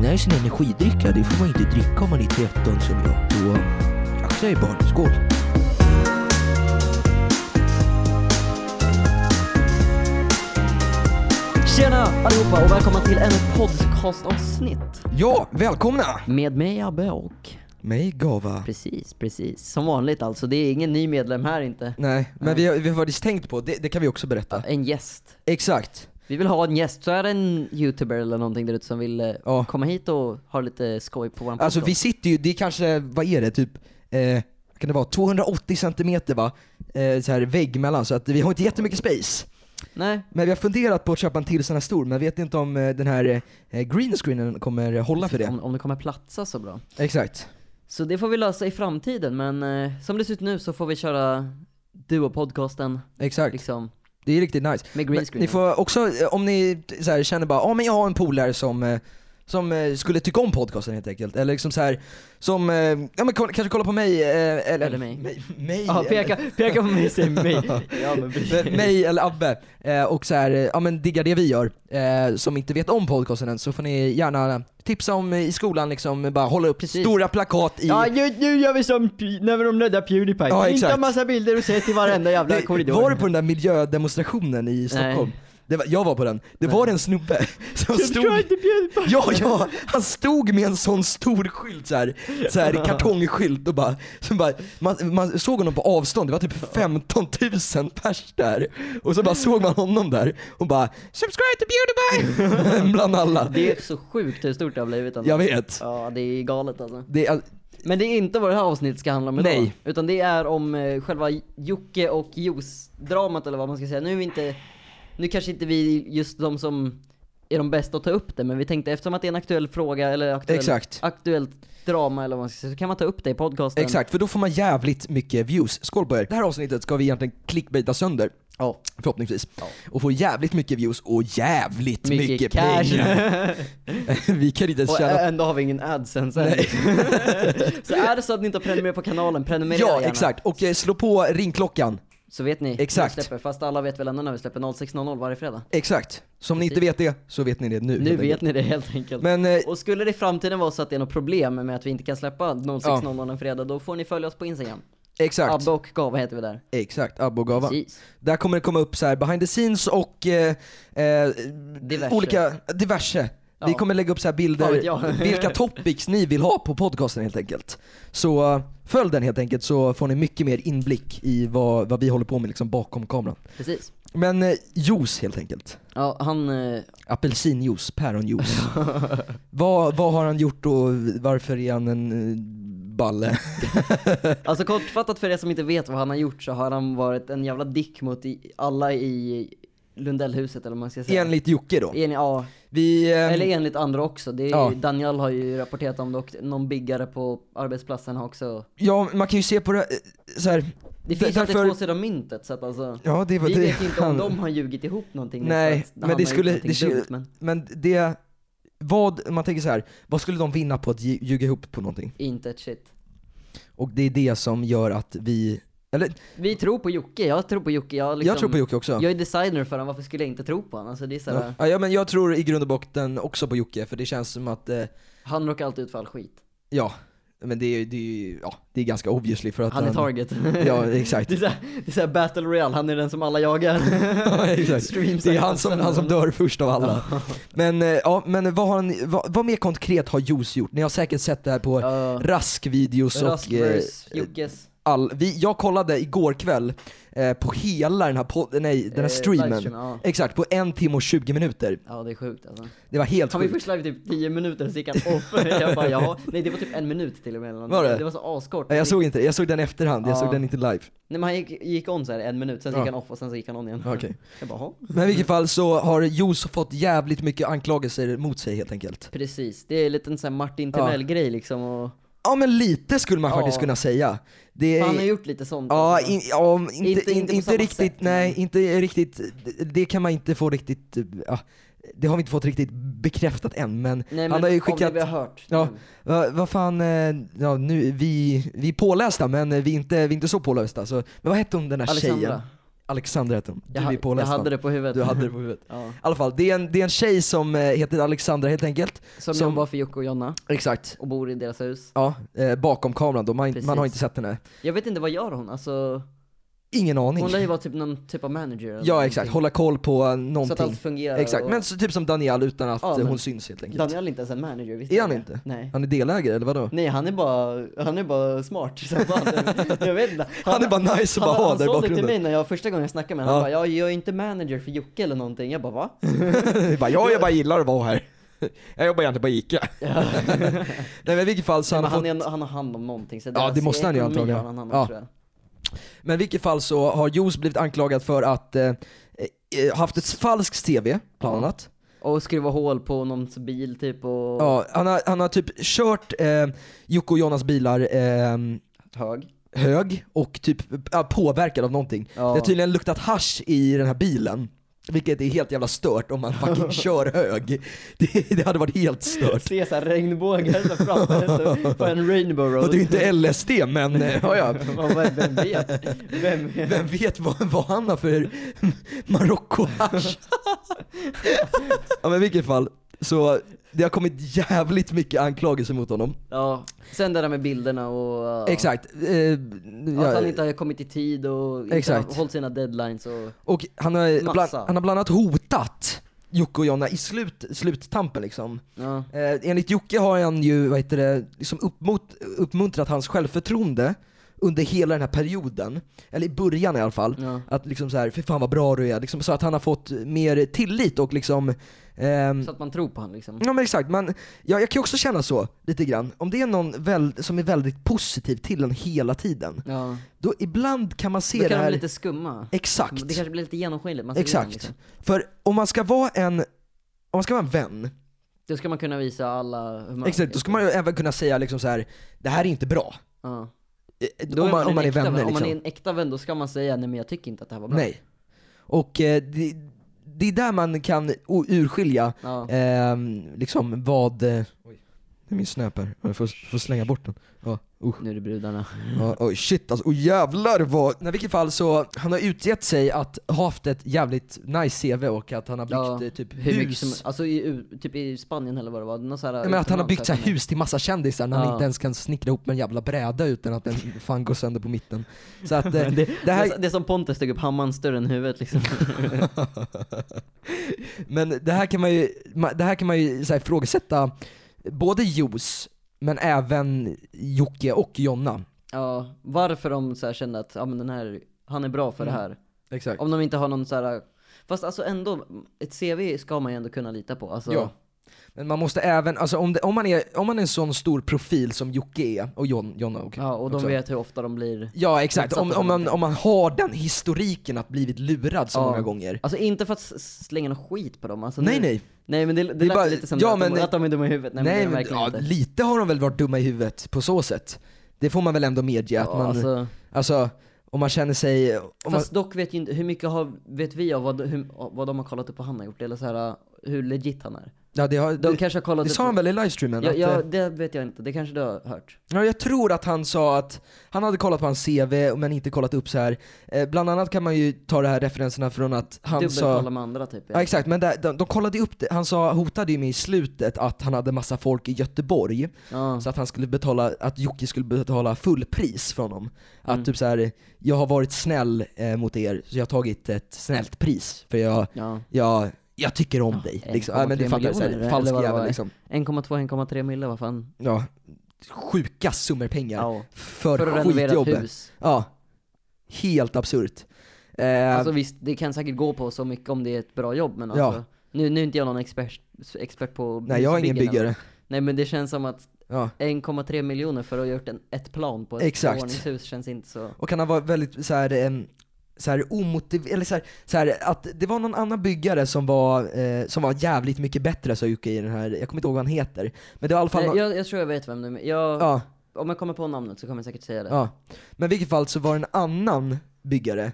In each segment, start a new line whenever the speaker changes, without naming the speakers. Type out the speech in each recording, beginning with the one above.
det här är sin energidricka. Det får man inte dricka om man är 13 som jag. Så akta er barn. Skål!
Tjena allihopa och välkomna till ännu ett podcastavsnitt
Ja, välkomna!
med mig Abbe och
Mig Gava.
precis, precis som vanligt alltså. Det är ingen ny medlem här inte.
Nej, men vi har, vi har faktiskt tänkt på, det, det kan vi också berätta.
En gäst.
Exakt.
Vi vill ha en gäst. Så är det en youtuber eller någonting där ute som vill eh,
Ja.
komma hit och ha lite skoj på våran
Alltså
podcast.
vi sitter ju, det är kanske, vad är det, typ, eh, vad kan det vara, 280 centimeter va? Eh, så här vägg mellan, så att vi har inte jättemycket space.
Nej,
Men vi har funderat på att köpa en till sån här stor, men vet inte om eh, den här eh, green screenen kommer hålla för det.
om, om det kommer platsa så bra.
Exakt.
Så det får vi lösa i framtiden men eh, som det ser ut nu så får vi köra Duo-podcasten
Exakt.
liksom
Det är riktigt nice.
med
Men
green screen.
Ni får också, eh, om ni så här, känner bara, ja men jag har en polare som eh, som eh, skulle tycka om podcasten helt enkelt, eller liksom så här, som, eh, ja men kolla- kanske kolla på mig, eh, eller,
Eller mig.
mig, mig
Ja, peka, peka på mig, säg mig. Ja, men
Eh, mig eller Abbe eh, och så här, eh, ja men digga det vi gör eh, som inte vet om podcasten än så får ni gärna tipsa om eh, i skolan liksom, bara hålla upp
Precis.
stora plakat i
Ja, nu, nu gör vi som P- när de räddar Pewdiepie.
Ja,
Inte
exakt.
en massa bilder och sätt i varenda jävla
Det-
korridor.
Var du på den där miljödemonstrationen i Stockholm? Det var, jag var på den. Det var en snubbe som stod
inte Pewdiepie.
Ja, ja! Han stod med en sån stor skylt så här, så här kartongskylt och bara, så bara man, man såg honom på avstånd, det var typ 15 000 pers där. Och så bara såg man honom där och bara 'Subscribe to Beautyby!' bland alla.
Det är så sjukt hur stort det har blivit ändå.
Jag vet.
Ja, det är galet alltså.
Det är, all-
Men det är inte vad det här avsnittet ska handla om idag.
Nej.
Utan det är om eh, själva Jocke och Jos-dramat eller vad man ska säga. Nu är vi inte, nu kanske inte vi just de som är de bästa att ta upp det, men vi tänkte eftersom att det är en aktuell fråga eller aktuell,
Exakt.
aktuellt drama eller vad man ska säga, så kan man ta upp det i podcasten.
exakt, för då får man jävligt mycket views. Skål på er. Det här avsnittet ska vi egentligen clickbaita sönder.
Ja.
Förhoppningsvis.
Ja.
Och få jävligt mycket views och jävligt mycket, pengar. vi kan inte ens
Och
tjäna...
ä- ändå har vi ingen AdSense än. Så är det så att ni inte har prenumererat på kanalen, prenumerera
Ja,
gärna.
exakt. Och eh, slå på ringklockan.
Så vet ni
Exakt.
när vi släpper, fast alla vet väl ändå när vi släpper 06.00 varje fredag.
Exakt. Som ni inte vet det, så vet ni det nu.
Nu vet ni det helt enkelt.
Men eh,
Och skulle det i framtiden vara så att det är något problem med att vi inte kan släppa 06.00 en fredag, då får ni följa oss på Instagram.
exakt,
Abbe och Gava heter vi där.
exakt, abbogava.
Precis.
Där kommer det komma upp så här behind the scenes och eh, eh,
Diverse.
olika, diverse.
Ja.
Vi kommer lägga upp så här
Fan vet
bilder,
jag.
vilka topics ni vill ha på podcasten helt enkelt. Så eh, följ den helt enkelt så får ni mycket mer inblick i vad, vad vi håller på med liksom bakom kameran.
Precis.
Men eh, juice helt enkelt.
Ja, han... eh,
Apelsinjuice, päronjuice. vad, vad har han gjort och varför är han en eh, balle?
Alltså kortfattat för er som inte vet vad han har gjort så har han varit en jävla dick mot i, alla i Lundellhuset eller vad man ska säga.
Enligt Jocke då.
Enligt, ja,
Vi, ehm,
Eller enligt andra också. Det är,
Ja.
Daniel har ju rapporterat om det och någon biggare på arbetsplatsen har också.
ja, man kan ju se på det eh, så här.
Det finns
Där-
alltid
därför-
två sidor av myntet så att alltså.
Ja, det var
vi
det.
vet ju inte om
han-
de har ljugit ihop någonting.
Nej,
för att
men
han
det
har
skulle-
gjort någonting
det skulle-
dumt, men
Men det, vad, man tänker så här, vad skulle de vinna på att ge- ljuga ihop på någonting?
inte ett shit.
Och det är det som gör att vi, eller
Vi tror på Jocke, jag tror på Jocke. Jag, liksom,
jag tror på Jocke också.
Jag är designer för honom, varför skulle jag inte tro på honom? Alltså det är såhär,
Ja. ja men jag tror i grund och botten också på Jocke, för det känns som att, eh,
han råkar alltid ut för all skit.
ja, men det är det är ju, ja, det är ganska obviously för att
Han är target.
Ja, exakt.
det är såhär, det är såhär battle royale, han är den som alla jagar.
Ja, exakt.
Streams
Det är
är
han som, han som
sönder
dör först av alla. Men, eh, ja, men vad, har han, vad, vad mer konkret har Juice gjort? Ni har säkert sett det här på
Ja.
Rask-videos och eh,
Rasmus, Jockes.
all, vi, jag kollade igår kväll eh, på hela den här, pod, nej, den här
eh,
streamen.
livestream, ja.
Exakt, på en timme och 20 minuter.
Ja det är sjukt alltså.
Det var helt
Han var ju
sjukt.
först live i typ 10 minuter, så gick han off. jag bara jaha. Nej det var typ en minut till och med. eller någonting.
Var det?
det var så askort.
Nej, Jag såg inte det, jag såg den i efterhand, jag
Ja.
såg den inte live.
Nej men han gick, gick on så här en minut, sen så
Ja.
gick han off och sen så gick han on igen.
Okej.
Jag bara jaha.
Men i vilket fall så har Juice fått jävligt mycket anklagelser mot sig helt enkelt.
Precis, det är lite en sån här Martin Timell-grej liksom och
Ja men lite skulle man
Ja.
faktiskt kunna säga. Det
han har gjort lite sånt.
Eh, Ja,
alltså.
in, ja om- inte,
Inte-
inte,
inte
inte,
på samma
riktigt,
sätt,
nej,
men-
inte riktigt, det- det kan man inte få riktigt, ja, det har vi inte fått riktigt bekräftat än men,
Nej,
han har ju
Av det
skickat,
vi har hört.
ja,
Mm.
vad vad fan, eh, ja, nu, vi, vi är pålästa men vi är inte, vi är inte så pålästa så, men vad hette hon den här
Alexandra.
tjejen? Alexander heter hon. Du
Jag, ha-
är
jag
påläst
hade
man.
det på huvudet.
Du hade det på huvudet. I
Ja.
alla fall, det är en, det är en tjej som eh, heter Alexandra helt enkelt.
Som,
Som-
jobbar för Jocke och Jonna
Exakt.
och bor i deras hus.
Ja, eh, bakom kameran då. Man, man har
Precis.
inte sett henne.
Jag vet inte, vad gör hon? Alltså,
Ingen aning.
hon lär ju vara typ någon typ av manager eller
Ja exakt,
någonting.
hålla koll på eh,
Så att
någonting.
allt fungerar.
Exakt,
och-
men så, typ som Daniel utan att
Ja,
eh,
men-
hon syns helt enkelt.
Daniel är inte ens en manager, visst
Är
du
han
det?
inte?
Nej.
Han är delägare eller vadå?
Nej, han är bara, han är bara smart som fan. Jag vet inte.
Han är bara nice och bara
han,
ha
han
där i
sa det till
bakgrunden.
mig när jag första gången jag snackade med honom,
Ja.
han bara, jag, jag är inte manager för Jocke eller någonting. Jag bara va?
Jag bara, ja, jag bara gillar att vara här. Jag jobbar egentligen på Ica. Nej men i vilket fall så
Men
han har
han,
fått,
är, han har hand om någonting. Så
det måste han ju antagligen.
Han hand om,
Ja.
tror jag.
men i vilket fall så har Juice blivit anklagad för att eh, eh, haft ett falskt CV bland
Ja.
annat.
Och skruva hål på någons bil typ och
Ja, han, har, han har typ kört eh, Jocke och Jonas bilar eh,
hög.
hög och typ ja, påverkad av någonting.
Ja.
Det har tydligen luktat hasch i den här bilen. Vilket är helt jävla stört om man fucking kör hög. Det, det hade varit helt stört.
Se såhär regnbågar så framför sig, så- på en rainbow road.
Och det är ju inte LSD men eh, ja, ja.
Ja, vem- Vem vet? Vem vet?
Vem vet vad, vad han har för Marocko-hasch? ja men i vilket fall, så det har kommit jävligt mycket anklagelser mot honom.
Ja, sen det där med bilderna och... ja.
Exakt. Eh, ja,
Att han inte har kommit i tid och inte
Exakt.
har hållit sina deadlines och...
Och han har, bland,
Massa.
han har bland annat hotat Jocke och Jonna i slut, sluttampen liksom.
Ja.
Eh, enligt Jocke har han ju, vad heter det, liksom uppmot, uppmuntrat hans självförtroende under hela den här perioden. Eller i början i alla fall.
Ja.
Att liksom så här, för fan vad bra du är. Liksom, så att han har fått mer tillit och liksom ehm,
Så att man tror på han liksom.
Ja men exakt, man, ja, jag kan ju också känna så lite grann. Om det är någon väl, som är väldigt positiv till en hela tiden,
Ja.
då ibland kan man se
Då
det
kan
här...
de lite skumma.
Exakt.
Det kanske blir lite genomskinligt. Man ser
Exakt.
igenom, liksom.
För om man ska vara en om man ska vara en vän,
Då ska man kunna visa alla hur man...
exakt, då ska man ju även kunna säga liksom så här: det här är inte bra.
Ja.
Eh,
Då
om
är
man, om man är
en äkta
vänner
vän.
liksom.
Om man är en äkta vän då ska man säga nej men jag tycker inte att det här var bra.
Nej. Och eh, det, det är där man kan o- urskilja
Ja.
ehm, liksom vad... Eh, oj, nu är min snöp här. Jag får, får slänga bort den. Ja, usch.
Nu är det brudarna.
Ja, oj shit alltså, oj jävlar vad... Nej, i vilket fall så, han har utgett sig att ha haft ett jävligt nice CV och att han har byggt
Ja,
eh, typ
Hur mycket
hus.
som, alltså i, u- typ i Spanien eller vad det var. Någon så här
Nej, men att han har
utomlands
byggt så här
som-
hus till massa kändisar när han
Ja.
inte ens kan snickra ihop en jävla bräda utan att den fan går sönder på mitten. Så att eh, det,
Det,
här...
är, det är som Pontus tog upp, hammaren större än huvudet liksom.
Men det här kan man ju, ma- det här kan man ju så här, ifrågasätta både Jos, men även Jocke och Jonna.
ja, varför de så här kände att, ja men den här, han är bra för
Mm.
det här.
Exakt.
Om de inte har någon så här. fast alltså ändå, ett CV ska man ju ändå kunna lita på. Alltså,
Ja. eh, Men man måste även, alltså om, det, om, man är, om man är en sån stor profil som Jocke är, och Jon, Jonna och
ja och de
också.
vet hur ofta de blir
Ja exakt, om,
Utsatta för
om, man,
någonting.
om man har den historiken att blivit lurad så
Ja.
många gånger.
Alltså inte för att s- slänga någon skit på dem, alltså,
Nej
nu-
nej,
Nej men det, det,
Det är
lät
bara-
lite som
ja,
att,
men-
de, att de är dumma i huvudet, nej,
nej,
men det är de
men,
verkligen
ja,
inte.
lite har de väl varit dumma i huvudet på så sätt. Det får man väl ändå medge att
Ja,
man, alltså,
alltså,
om man känner sig... Om man,
fast dock vet ju inte, hur mycket har, vet vi av vad, hur, vad de har kollat upp vad han har gjort, eller så här hur legit han är?
ja, det, har,
De
det,
kanske har kollat
det
upp...
sa han väl i livestreamen?
ja,
att,
ja,
eh,
det vet jag inte, det kanske du har hört.
Ja, jag tror att han sa att han hade kollat på hans CV men inte kollat upp så här. Eh, bland annat kan man ju ta de här referenserna från att han
Dubbelkolla
sa...
med andra typ.
Ja exakt, men där, de, de kollade upp det. Han sa, hotade ju med i slutet att han hade massa folk i Göteborg,
Ja.
så att han skulle betala, att Jocke skulle betala fullpris från honom. Att
Mm.
typ så här, jag har varit snäll eh, mot er, så jag har tagit ett snällt pris, för jag,
Ja.
jag, jag tycker om
Ja,
dig. Liksom. Ja men du
1,3
fattar, så här,
miljoner,
falsk
eller vad det
jävel
var.
liksom.
1,2-1,3 mille, vad fan.
Ja, sjuka summor pengar.
Ja.
För,
För att renovera ett
skitjobb.
hus.
Ja. Helt absurt. Eh,
Alltså visst, det kan säkert gå på så mycket om det är ett bra jobb men
Ja.
alltså, nu, nu är inte jag någon expert, expert på
nej jag är ingen
husbyggen,
byggare.
Nej men det känns som att
Ja.
1,3 miljoner för att ha gjort en, ett plan på ett
Exakt.
våningshus känns inte så...
Och han har varit väldigt så här, em, så här omotiverad, eller så här, så här, att det var någon annan byggare som var, eh, som var jävligt mycket bättre sa Jocke i den här, jag kommer inte ihåg vad han heter. Men det var i alla fall
Nej,
någon,
jag, jag tror jag vet vem du jag,
ja,
Om jag kommer på namnet så kommer jag säkert säga det.
ja. Men i vilket fall så var det en annan byggare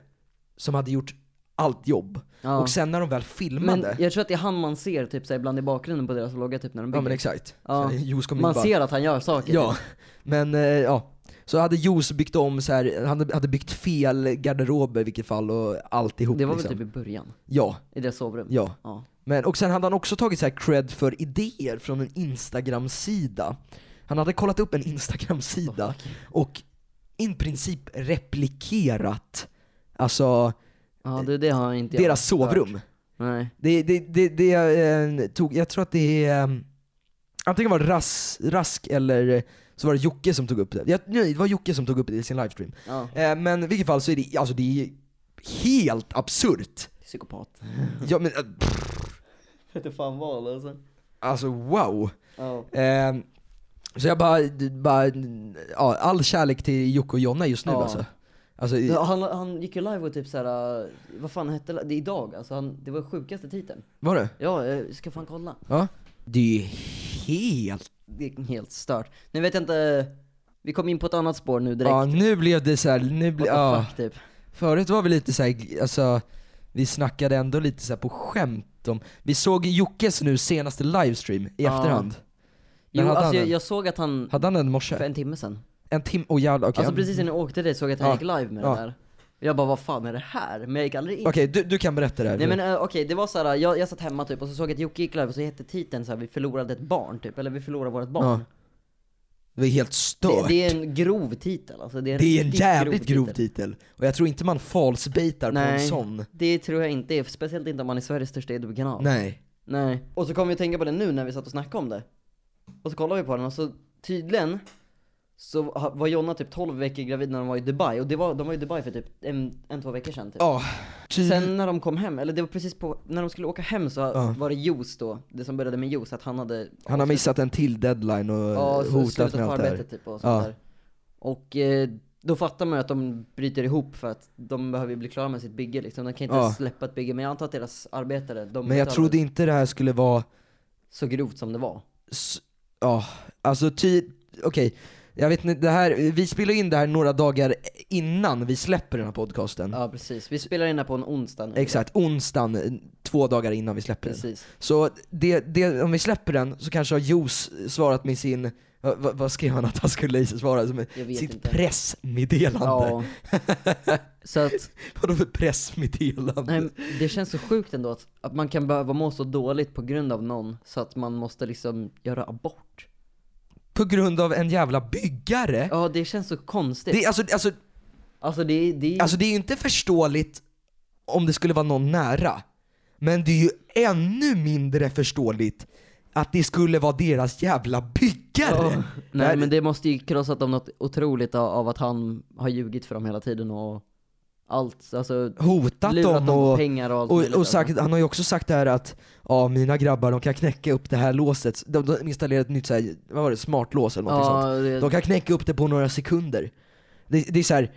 som hade gjort allt jobb.
Ja.
Och sen när de väl filmade,
men jag tror att det är han man ser typ så här, ibland i bakgrunden på deras vlogga typ när de
ja men
bygger.
exakt.
Ja.
Så, Juice kom in
man
bara,
ser att han gör saker.
Ja, men eh, ja. Så hade Juice byggt om så här, han hade byggt fel garderober i vilket fall och alltihop
Det var väl
liksom.
typ i början,
Ja,
i deras sovrum?
ja.
Ja.
Men, och sen hade han också tagit så här cred för idéer från en Instagram-sida. Han hade kollat upp en Instagram-sida
Oh, fuck.
och i princip replikerat alltså
ja, det, det har inte jag
deras sovrum.
Nej.
Det, det, det, det eh, tog, jag tror att det är, eh, antingen var det Ras, Rask eller så var det Jocke som tog upp det. Jag, nej, det var Jocke som tog upp det i sin livestream.
Ja.
Eh, men i vilket fall så är det, alltså det är helt absurt.
Psykopat.
Ja men, eh, pff,
Vete fan vad alltså.
alltså wow.
Ja.
Eh, så jag bara, bara ja, all kärlek till Jocke och Jonna just nu
Ja.
alltså. Alltså,
Han, han gick ju live och typ såhär, eh, vad fan hette det idag? Alltså han, det var sjukaste titeln.
var det?
Ja, jag ska fan kolla.
Ja. Det är ju helt
Det är helt stört. Nu vet jag inte, vi kom in på ett annat spår nu direkt.
Ja nu blev det såhär, nu blev,
What the
ja.
fuck typ.
Förut var vi lite såhär, alltså vi snackade ändå lite såhär på skämt om, vi såg Jockes nu senaste livestream i
Ja.
efterhand. Men
Jo,
hade han
alltså jag,
den?
jag såg att han,
Hade han den i
för
morse?
en timme sedan.
En timme, oh jävlar okej.
Alltså precis innan jag åkte dit såg jag att han
Ja.
gick live med
Ja.
det där. Jag bara vad fan är det här? Men jag gick aldrig in.
Okej du, du kan berätta det här.
Nej men eh, okej, det var såhär, jag, jag satt hemma typ och så såg jag att Jocke gick live och så hette titeln såhär vi förlorade ett barn typ, eller vi förlorade vårt barn.
Det var helt
det,
stört.
det är en grov titel alltså. Det är en,
det är en
riktigt
jävligt grov titel. Och jag tror inte man falsbaitar på en
Nej.
sån.
Det tror jag inte är, speciellt inte om man är Sveriges största YouTube-kanal.
Nej.
Nej. Och så kom vi att tänka på det nu när vi satt och snackade om det. Och så kollade vi på den och så tydligen så ha- var Jonna typ 12 veckor gravid när de var i Dubai och det var, de var i Dubai för typ en, en två veckor sedan typ.
Ja. Ty-
Sen när de kom hem, eller det var precis på, när de skulle åka hem så
Ja.
var det Juice då, det som började med Juice, att han hade
han har missat en till deadline och
ja, så
hotat
slutat
med
på
allt det här.
arbetet typ och
eh, Ja.
sånt där. Och eh, då fattar man ju att de bryter ihop för att de behöver ju bli klara med sitt bygge liksom. De kan inte
Ja.
släppa ett bygge, men jag antar att deras arbetare, de
Men jag
betalar
trodde inte det här skulle vara
så grovt som det var.
S- Ja, alltså ty... Okej. Jag vet inte, det här, vi spelar in det här några dagar innan vi släpper den här podcasten.
Ja precis, vi spelar in det här på en onsdag nu.
Exakt, onsdagen, eh, två dagar innan vi släpper den.
Precis.
Så det, det, om vi släpper den så kanske har Juice svarat med sin, vad, vad- vad skrev han att han skulle svara? Som
Jag vet
sitt
inte.
pressmeddelande.
Ja. så att,
Vadå för pressmeddelande?
nej, det känns så sjukt ändå att, att man kan behöva må så dåligt på grund av någon så att man måste liksom göra abort.
På grund av en jävla byggare?
Ja det känns så konstigt.
Det, alltså, alltså,
Alltså det, det
Alltså det är ju inte förståeligt om det skulle vara någon nära. Men det är ju ännu mindre förståeligt att det skulle vara deras jävla byggare.
Ja. Nej men det måste ju krossat dem något otroligt av, av att han har ljugit för dem hela tiden och allt, alltså
Hotat
lurat
dem
dem på
och,
pengar och allt
och,
möjligt,
och
alltså.
sagt, han har ju också sagt det här att ja mina grabbar de kan knäcka upp det här låset. De, de installerar ett nytt så här, vad var det, smartlås eller något sånt.
ja, det,
De kan knäcka upp det på några sekunder. Det, det är så här,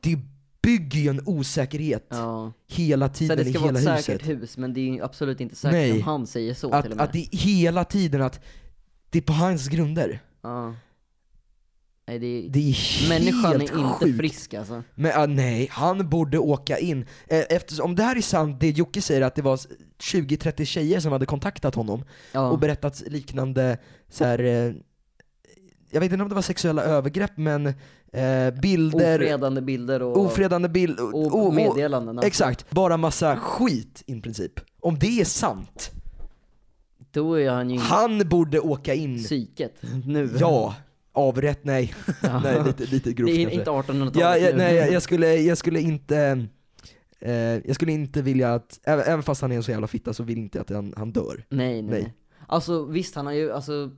det bygger ju en osäkerhet
ja.
hela
Så
tiden
här, det
i
ska vara
hela
ett
huset.
säkert hus men det är ju absolut inte säkert
Nej.
om han säger så till och
att,
med.
att det är hela tiden att det är på hans grunder.
Ja. Nej det är...
Det är
Människan
helt
är inte
sjukt.
frisk alltså.
Men ah, nej, han borde åka in. Eh, Eftersom, om det här är sant, det Jocke säger att det var s- 20-30 tjejer som hade kontaktat honom
Ja.
och berättat liknande så här. Eh, jag vet inte om det var sexuella övergrepp men eh, bilder,
Ofredande bilder och,
ofredande bilder,
och meddelanden. alltså.
Exakt, bara massa skit i princip. Om det är sant,
Då är han ju inte
han borde åka in.
psyket nu.
Ja, avrätt, nej.
Ja.
Nej, lite, lite grovt
det är
kanske.
inte 1800-talet
Ja, jag,
nu.
nej, jag, jag, skulle, jag skulle inte eh, jag skulle inte vilja att, även, även fast han är en så jävla fitta så vill inte jag att han, han dör.
Nej, nej,
Nej.
nej. Alltså visst, han har ju, alltså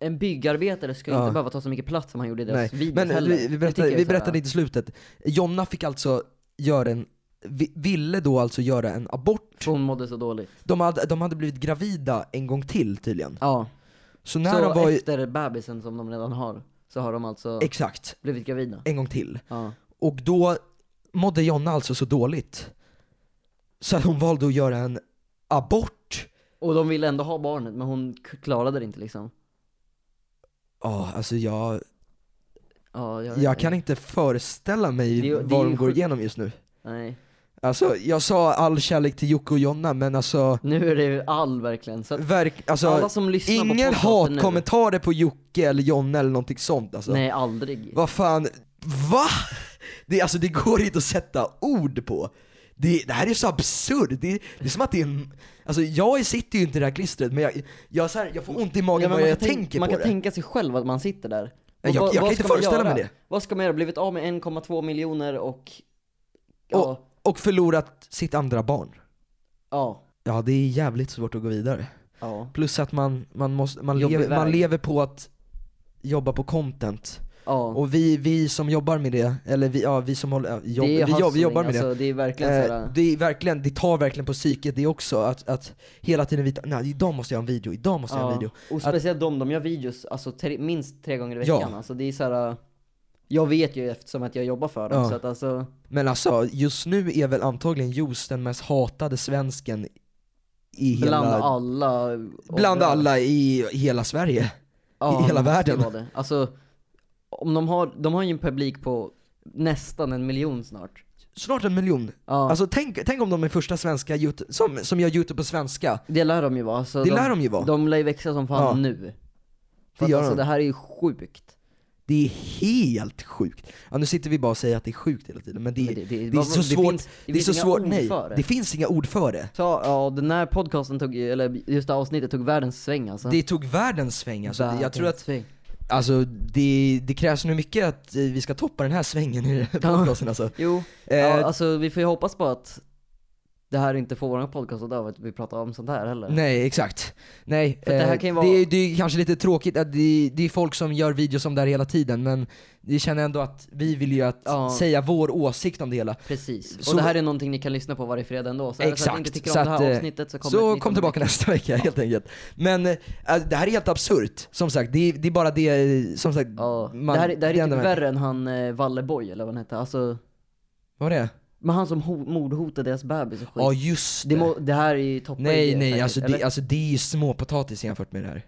en byggarbetare ska ju
Ja.
inte behöva ta så mycket plats som han gjorde i deras
Nej.
video
Men eh, vi,
heller.
vi
Det
berättade,
tycker jag
vi
är så här,
berättade inte slutet. Jonna fick alltså göra en, vi- ville då alltså göra en abort.
för Hon mådde så dåligt.
De hade, de hade blivit gravida en gång till tydligen.
Ja.
Så när
så
de var i,
efter bebisen som de redan har, så har de alltså
exakt,
blivit gravida.
en gång till.
Ja.
Och då mådde Jonna alltså så dåligt. Så att hon valde att göra en abort.
Och de ville ändå ha barnet, men hon k- klarade det inte liksom.
Ja, alltså jag,
Ja, jag, vet
Jag kan inte föreställa mig
Det är ju- det är
vad
ju
de går
sjukt.
igenom just nu.
Nej.
Alltså jag sa all kärlek till Jocke och Jonna men alltså,
Nu är det ju all verkligen. Så att
verk,
alla
alltså
som lyssnar på
ingen
podcasten nu-
hatkommentarer på Jocke eller Jonna eller någonting sånt alltså.
Nej, aldrig.
Vad fan, va? Det, alltså det går inte att sätta ord på. Det, det här är så absurt, det, det är som att det är en, alltså jag sitter ju inte i det här klistret men jag, jag, så här, jag får ont i
Ja,
magen
men
bara
man
jag
kan tänk-
tänker
Man
på
kan
det.
tänka sig själv att man sitter där.
Jag-
Och
jag
vad-
kan
vad
inte
ska man
föreställa mig
göra?
det.
Vad ska man göra? Blivit av med 1,2 miljoner och... Ja,
Och- Och förlorat sitt andra barn.
ja,
Ja det är jävligt svårt att gå vidare.
ja,
Plus att man, man, måste, man,
Jobbig
lever, man
väg.
lever på att jobba på content.
ja.
Och vi, vi som jobbar med det, eller vi, ja, vi som håller, ja, jobb,
Det är
vi, jobb, vi
hustling,
jobbar med det.
alltså, det är verkligen så
Eh,
här,
det, är verkligen, det tar verkligen på psyket det också, att, att hela tiden vita, nej idag måste jag ha en video, idag måste jag ha en video.
Och
Att-
speciellt de, de gör videos alltså, tre, minst tre gånger i
Ja.
veckan. Alltså, det är så här, jag vet ju eftersom att jag jobbar för dem,
Ja.
så att alltså,
Men alltså, just nu är väl antagligen Jos den mest hatade svensken i hela,
bland alla.
bland alla i hela Sverige. i hela
det
världen.
var Det. Alltså, om de har, de har ju en publik på nästan en miljon snart.
Snart en miljon.
Ja,
Alltså tänk, tänk om de är första svenska yout- som, som gör YouTube på svenska.
det lär de ju vara. Alltså,
Det lär de ju vara.
De lär ju växa som fan
Ja.
nu. För att,
gör
alltså,
de.
det här är ju sjukt.
Det är helt sjukt. Ja, nu sitter vi bara och säger att det är sjukt hela tiden, men det,
Men
det,
det
är så svårt,
finns-
det är
finns
så
inga
svårt,
ord
nej.
för det.
Det finns inga ord för det.
Så, ja, den här podcasten tog ju, eller just det här avsnittet tog världens sväng alltså.
Det tog världens sväng alltså. Det- Jag
Världens
tror att,
sväng.
alltså det, det krävs nog mycket att eh, vi ska toppa den här svängen i den här podcasten alltså.
Jo,
Eh,
ja, alltså vi får ju hoppas på att det här inte får vår podcast att dö av att vi pratar om sånt här heller.
Nej, exakt. Nej,
För det här
eh,
kan ju vara-
det, är- det är kanske lite tråkigt att det, det är folk som gör videos om det här hela tiden, men jag känner ändå att vi vill ju att
Ja.
säga vår åsikt om det hela.
Precis.
Så-
och det här är någonting ni kan lyssna på varje fredag ändå. Så är det så att ni inte
Exakt.
tycker om
Så
det
att,
här
eh,
avsnittet så kommer ett
Så
nytt
kom tillbaka nästa vecka helt enkelt. Men eh, det här är helt absurt, som sagt. Det är, det är bara det, eh, som sagt.
Ja,
man-
det här, det här är
enda
typ
man-
värre än han eh, Valleboy eller vad han hette. Alltså,
Vad var det?
men han som ho- mordhotade deras bebis och skit.
Ja just
det,
det.
må, det här är ju toppen
nej nej, alltså det, alltså det är ju småpotatis jämfört med det här.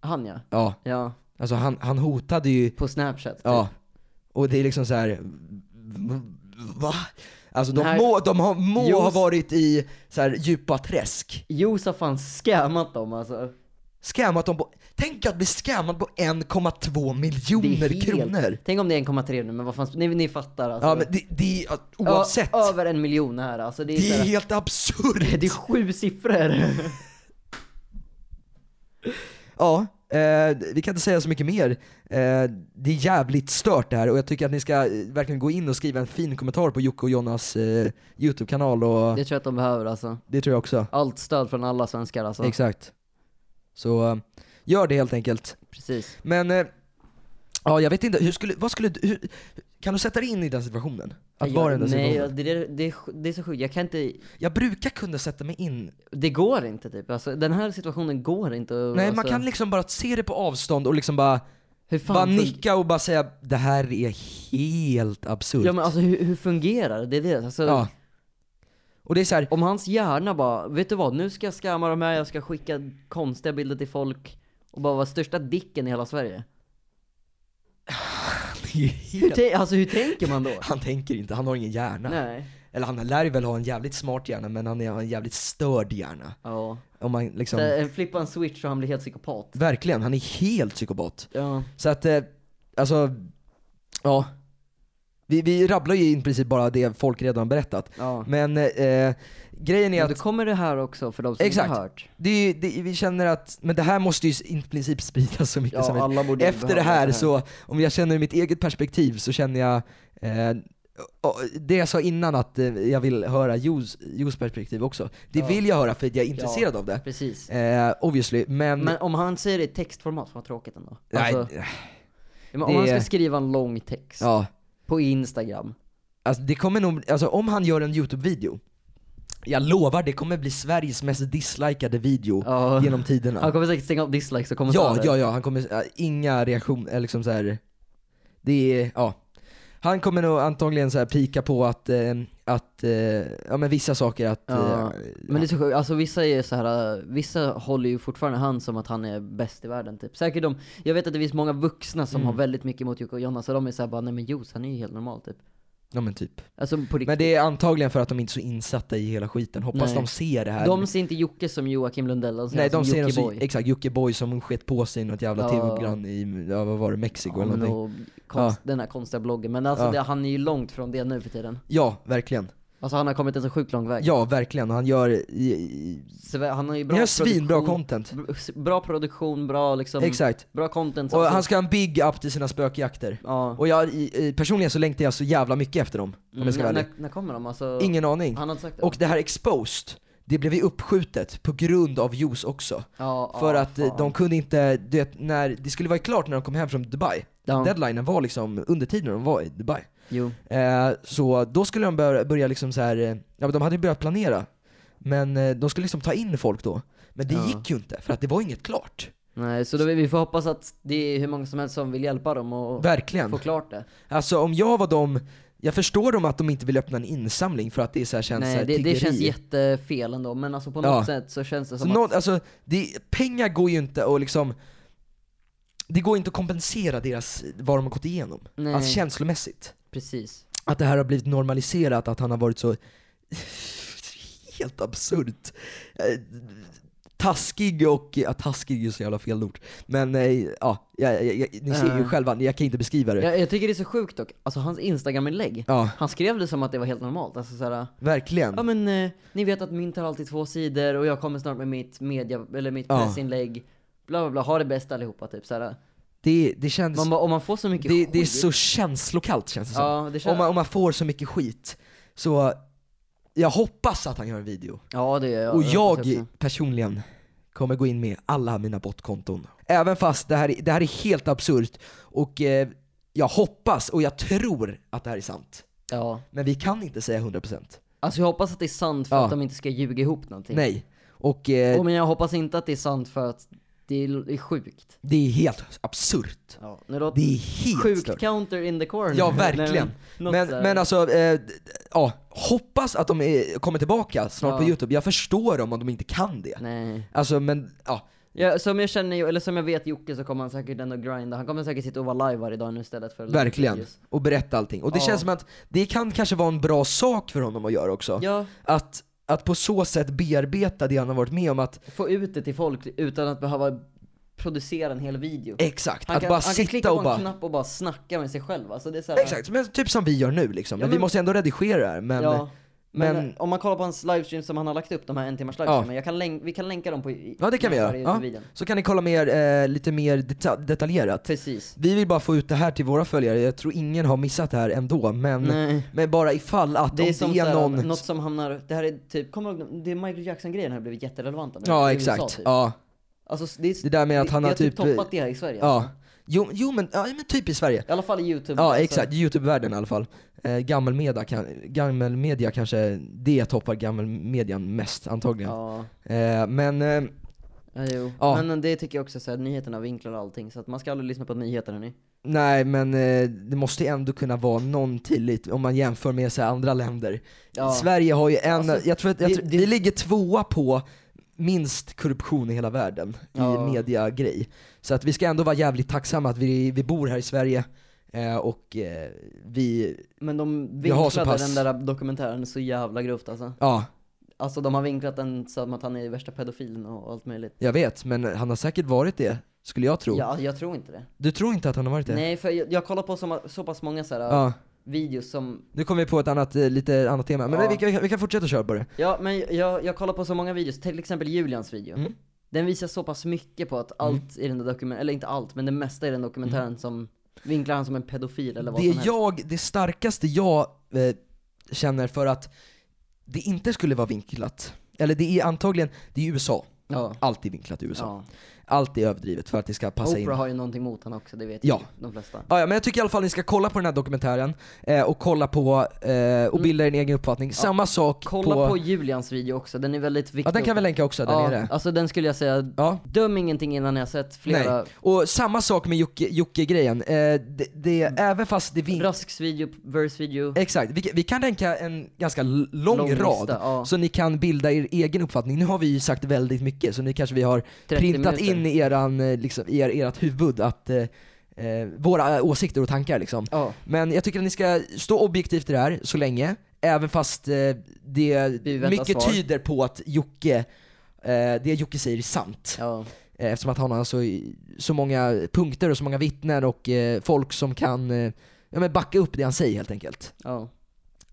Han ja.
Ja,
Ja,
alltså han, han hotade ju,
på snapchat. typ.
ja. Och det är liksom så här. v- va? Alltså de
Den här-
må, de har, må ha
Jos-
varit i så här djupa träsk.
Jos har fan scammat dem alltså.
Scammat dem på, tänk att bli scammad på 1,2
Det är
miljoner
helt-
kronor.
Tänk om det är 1,3 nu men vad fan, ni, ni fattar alltså.
Ja men det, det är,
Ö-
oavsett.
Över en miljon här alltså. Det är,
Det
så
är
här-
helt absurt!
Det är sju siffror!
Ja, eh, vi kan inte säga så mycket mer. Eh, det är jävligt stört det här och jag tycker att ni ska eh, verkligen gå in och skriva en fin kommentar på Jocke och Jonas eh, YouTube-kanal och
Det tror jag att de behöver alltså.
det tror jag också.
Allt stöd från alla svenskar alltså.
Exakt. Så eh, gör det helt enkelt.
Precis.
Men eh, ja, jag vet inte, hur skulle, vad skulle du, hur, kan du sätta dig in i den situationen? Att
Jag-
vara i den
Nej,
situationen?
jag- det, är- det, är sj- det är så sjukt. Jag kan inte,
Jag brukar kunna sätta mig in
det går inte typ. Alltså, den här situationen går inte att-
Nej,
alltså,
man kan liksom bara se det på avstånd och liksom bara,
hur fan
bara
fun-
nicka och bara säga det här är helt absurt.
Ja men alltså hur, hur fungerar det? det? är det. Alltså,
Ja. Och det är så här,
Om hans hjärna bara, vet du vad, nu ska jag skamma de här, jag ska skicka konstiga bilder till folk och bara vara största dicken i hela Sverige.
det är
Hur,
helt...
tän- alltså hur tänker man då?
han tänker inte, han har ingen hjärna.
Nej.
Eller han lär ju väl ha en jävligt smart hjärna men han är- har en jävligt störd hjärna.
Ja.
Om man liksom,
Så, eh, flippa en switch och han blir helt psykopat.
verkligen, han är helt psykopat.
Ja.
Så att, eh, alltså, ja. Vi, vi rabblar ju i princip bara det folk redan berättat.
ja. Mm.
Men eh, grejen är
Ja,
att
då kommer det här också för de som
Exakt.
inte har hört.
det, är ju- det, vi känner att, men det här måste ju i princip spridas så mycket som möjligt.
alla borde
Efter det här så, om jag känner ur mitt eget perspektiv så känner jag eh, och det jag sa innan att eh, jag vill höra Jos, Jos perspektiv också. Det
Ja.
vill jag höra för att jag är intresserad av det.
Precis.
Eh, obviously, men...
Men om han säger det i textformat, vad tråkigt ändå.
nej,
Alltså, ja, men
det-
om han ska skriva en lång text
ja.
på Instagram.
Alltså det kommer nog, alltså om han gör en YouTube-video, jag lovar det kommer bli Sveriges mest dislikade video
Ja.
genom tiderna.
Han kommer säkert stänga av dislikes och kommentarer.
Ja, ja, ja, han kommer, ja, inga reaktioner, liksom så här. det är, ja. Han kommer nog antagligen så här pika på att, eh, att eh, ja men vissa saker att,
Ja,
eh,
Men det är så sjukt, alltså vissa är så här, äh, vissa håller ju fortfarande han som att han är bäst i världen typ. Säkert de,
Mm.
jag vet att det finns många vuxna som har väldigt mycket emot Jocke och Jonna, så de är såhär bara nej men Jos han är ju helt normal typ.
Ja men typ.
Alltså på riktigt.
Men det är antagligen för att de inte är så insatta i hela skiten. Hoppas
Nej.
de ser det här.
De ser inte Jocke som Joakim Lundell, de ser
Nej
honom
de
som
ser
Jocke
alltså,
Boy.
exakt, Jockiboi som skett på sig i något jävla
Ja.
tv-program i, ja, vad var det, Mexiko
Ja,
eller
men
någonting.
och konst, Den här konstiga bloggen. Men alltså
Ja.
det, han är ju långt från det nu för tiden.
Ja, verkligen.
Alltså han har kommit en så sjukt lång väg.
Ja, verkligen. Och Han gör, i, i,
Sve- Han har ju bra
han gör svinbra
produktion,
content.
br- Bra produktion, bra liksom,
Exakt.
bra content.
Och
Alltså,
han ska ha en big up till sina spökjakter.
ja.
Och jag, i, i, personligen så längtar jag så jävla mycket efter dem, om jag ska vara
Mm, när,
ärlig.
när, när kommer de? Alltså,
Ingen aning.
Han har inte sagt det.
Och det här exposed, det blev ju uppskjutet på grund av juice också.
ja,
För
ja,
att eh,
fan.
de kunde inte, du vet, när, det skulle vara klart när de kom hem från Dubai.
Ja.
Deadlinen var liksom under tiden de var i Dubai.
Jo.
Eh, så då skulle de börja, börja liksom så här, eh, ja men de hade ju börjat planera. Men eh, de skulle liksom ta in folk då. Men det
Ja.
gick ju inte, för att det var inget klart.
Nej, så då, vi får hoppas att det är hur många som helst som vill hjälpa dem och
Verkligen.
få klart det.
Alltså om jag var dem, jag förstår dem att de inte vill öppna en insamling för att det är så här, känns så
Nej,
här,
det, det
tiggeri.
känns jättefel ändå, men alltså på
Ja.
något sätt så känns det
Så
som att...
något, alltså, det, pengar går ju inte att liksom, det går inte att kompensera deras, vad de har gått igenom.
Nej.
Alltså känslomässigt.
Precis.
Att det här har blivit normaliserat, att han har varit så helt absurt eh, taskig och, ja taskig är ju så jävla fel ord. Men eh, ja, jag, jag, jag, ni ser ju
Äh.
själva, jag kan inte beskriva det.
Jag, jag tycker det är så sjukt dock, alltså hans instagram-inlägg.
Ja,
Han skrev det som att det var helt normalt, alltså såhär,
verkligen.
ja men eh, ni vet att mynt har alltid två sidor och jag kommer snart med mitt media, eller mitt
Ja.
pressinlägg, bla bla bla, ha det bäst allihopa typ såhär.
Det, det känns...
Man bara, om man får så mycket
det,
skit.
det är så känslokallt känns det som.
Ja, det känns,
om, man, om man får så mycket skit, så jag hoppas att han gör en video.
ja det gör jag.
och
Det
jag
hoppas också.
personligen kommer gå in med alla mina botkonton. Även fast det här, är- det här är helt absurt och eh, jag hoppas och jag tror att det här är sant.
Ja.
Men vi kan inte säga 100%.
Alltså jag hoppas att det är sant för
Ja.
att de inte ska ljuga ihop någonting.
Nej. Och eh,
Och, men jag hoppas inte att det är sant för att det är, det är sjukt.
det är helt absurt.
Ja, nu låter
Det är helt
sjukt
stört.
counter in the corner.
Ja, verkligen.
Nej, men, något
Men,
så här.
men alltså, eh, d- d- ja, hoppas att de är, kommer tillbaka snart
Ja.
på youtube. Jag förstår dem om de inte kan det.
Nej.
Alltså men, ja.
Ja, som jag känner, eller som jag vet Jocke så kommer han säkert ändå grinda. Han kommer säkert sitta och vara live varje dag nu istället för
Verkligen. Och berätta allting. Och det
Ja.
känns som att det kan kanske vara en bra sak för honom att göra också.
Ja,
Att, att på så sätt bearbeta det han har varit med om. Att,
få ut det till folk utan att behöva producera en hel video.
exakt,
Han
Eh, att
kan,
bara
han kan
sitta
klicka på
och
en
bara...
knapp och bara snacka med sig själv. Alltså det är så här,
Exakt, men typ som vi gör nu liksom.
Ja,
men, vi
men-
måste ändå redigera det här. Men,
ja.
ja.
Men,
men-
om man kollar på hans livestream som han har lagt upp, de här en timmars livestreamen, jag kan län- vi kan länka dem på i-
det kan vi göra.
varje
Ja.
videon.
Så kan ni kolla mer, eh, lite mer deta- detaljerat.
Precis.
Vi vill bara få ut det här till våra följare, jag tror ingen har missat det här ändå, men,
Nej.
men bara ifall att
Det är
om
som
det är
såhär,
någon...
något som hamnar, det här är typ, kommer du ihåg, det är Michael Jackson-grejen har blivit jätterelevant nu,
Ja
i USA
exakt,
typ.
ja.
Alltså det är,
Det där med att han
det
har
typ
typ...
toppat det här i Sverige.
ja. Jo, jo men, ja, men typ i Sverige.
I alla fall i YouTube.
Ja
alltså.
exakt, Youtube-världen i alla fall. Eh, gammelmedia, kan, gammelmedia kanske, det toppar gammelmedian mest antagligen.
Ja,
Eh, men, eh,
ja, jo.
Ja.
Men det tycker jag också såhär, nyheterna vinklar allting, så att man ska aldrig lyssna på nyheter hörni.
nej men eh, det måste ändå kunna vara någon tillit om man jämför med så här, andra länder.
Ja.
Sverige har ju en,
Alltså,
jag tror att, jag
det-
tror,
det-
vi ligger tvåa på minst korruption i hela världen
Ja.
i mediagrej. Så att vi ska ändå vara jävligt tacksamma att vi, vi bor här i Sverige eh, och eh, vi,
Men de
Jag har så
vinklade
pass-
den där dokumentären så jävla grovt alltså.
ja
Alltså de har vinklat den som att han är värsta pedofilen och allt möjligt.
jag vet, men han har säkert varit det, skulle jag tro.
Ja, jag tror inte det.
Du tror inte att han har varit det?
Nej, för jag, jag kollar på så, så pass många så här,
Ja.
videos som,
Nu kommer vi på ett annat, eh, lite annat tema, men
Ja.
vi, kan- vi, kan, vi kan fortsätta köra på det.
ja men jag, jag kollar på så många videos, till exempel Julians video.
Mm.
Den visar så pass mycket på att allt i den där dokumentären, eller inte allt, men det mesta i den dokumentären som vinklar han som en pedofil eller vad
Mm. Det,
som helst.
jag, det starkaste jag eh, känner för att det inte skulle vara vinklat, eller det är antagligen, det är USA.
Ja.
Alltid vinklat i USA.
Ja.
Allt är överdrivet för att det ska passa
Oprah
in.
har ju någonting mot han också, det vet
Ja.
ju de flesta.
Ja, ja, men jag tycker i alla fall ni ska kolla på den här dokumentären eh, och kolla på, eh, och bilda er en egen uppfattning. Samma sak
Mm. Kolla på... Julians video också, den är väldigt viktig.
ja den kan vi
också.
länka också där
ja,
nere.
Alltså den skulle jag säga,
Ja.
döm ingenting innan ni har sett flera
Nej. Och samma sak med Jocke- Jocke-grejen, eh, det, det, även fast det vink...
Rasks video, Verse video,
Exakt, vi, vi kan länka en ganska l- lång,
Lång lista,
rad
ja.
så ni kan bilda er egen uppfattning. Nu har vi ju sagt väldigt mycket så nu kanske vi har
30
printat
minuter.
in i, eran, eh, liksom, i er, ert huvud att eh, eh, våra åsikter och tankar liksom.
Ja,
Men jag tycker att ni ska stå objektivt i det här så länge, även fast eh, det
Vi väntar
mycket
svar.
tyder på att Jocke, eh, det Jocke säger är sant.
ja.
Eh, Eftersom att han har så, så många punkter och så många vittnen och eh, folk som kan eh, ja, men backa upp det han säger helt enkelt.
ja.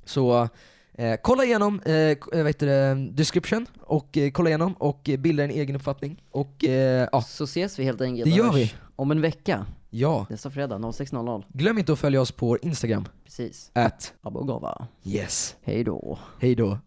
Så eh, kolla igenom eh, k- eh, vad heter det, description och eh, kolla igenom och eh, bilda en egen uppfattning. Och eh, ja,
Så ses vi helt enkelt
Det gör
Anders,
vi.
om en vecka.
ja,
Nästa fredag 06.00.
glöm inte att följa oss på Instagram,
Precis.
at
Abogava.
yes.
Hej då.
Hej då.